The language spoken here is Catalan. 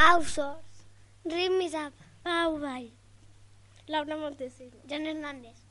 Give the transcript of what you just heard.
Pau Sos, Ritme Isab, Pau Vall, Laura Montesino, Jan Hernández.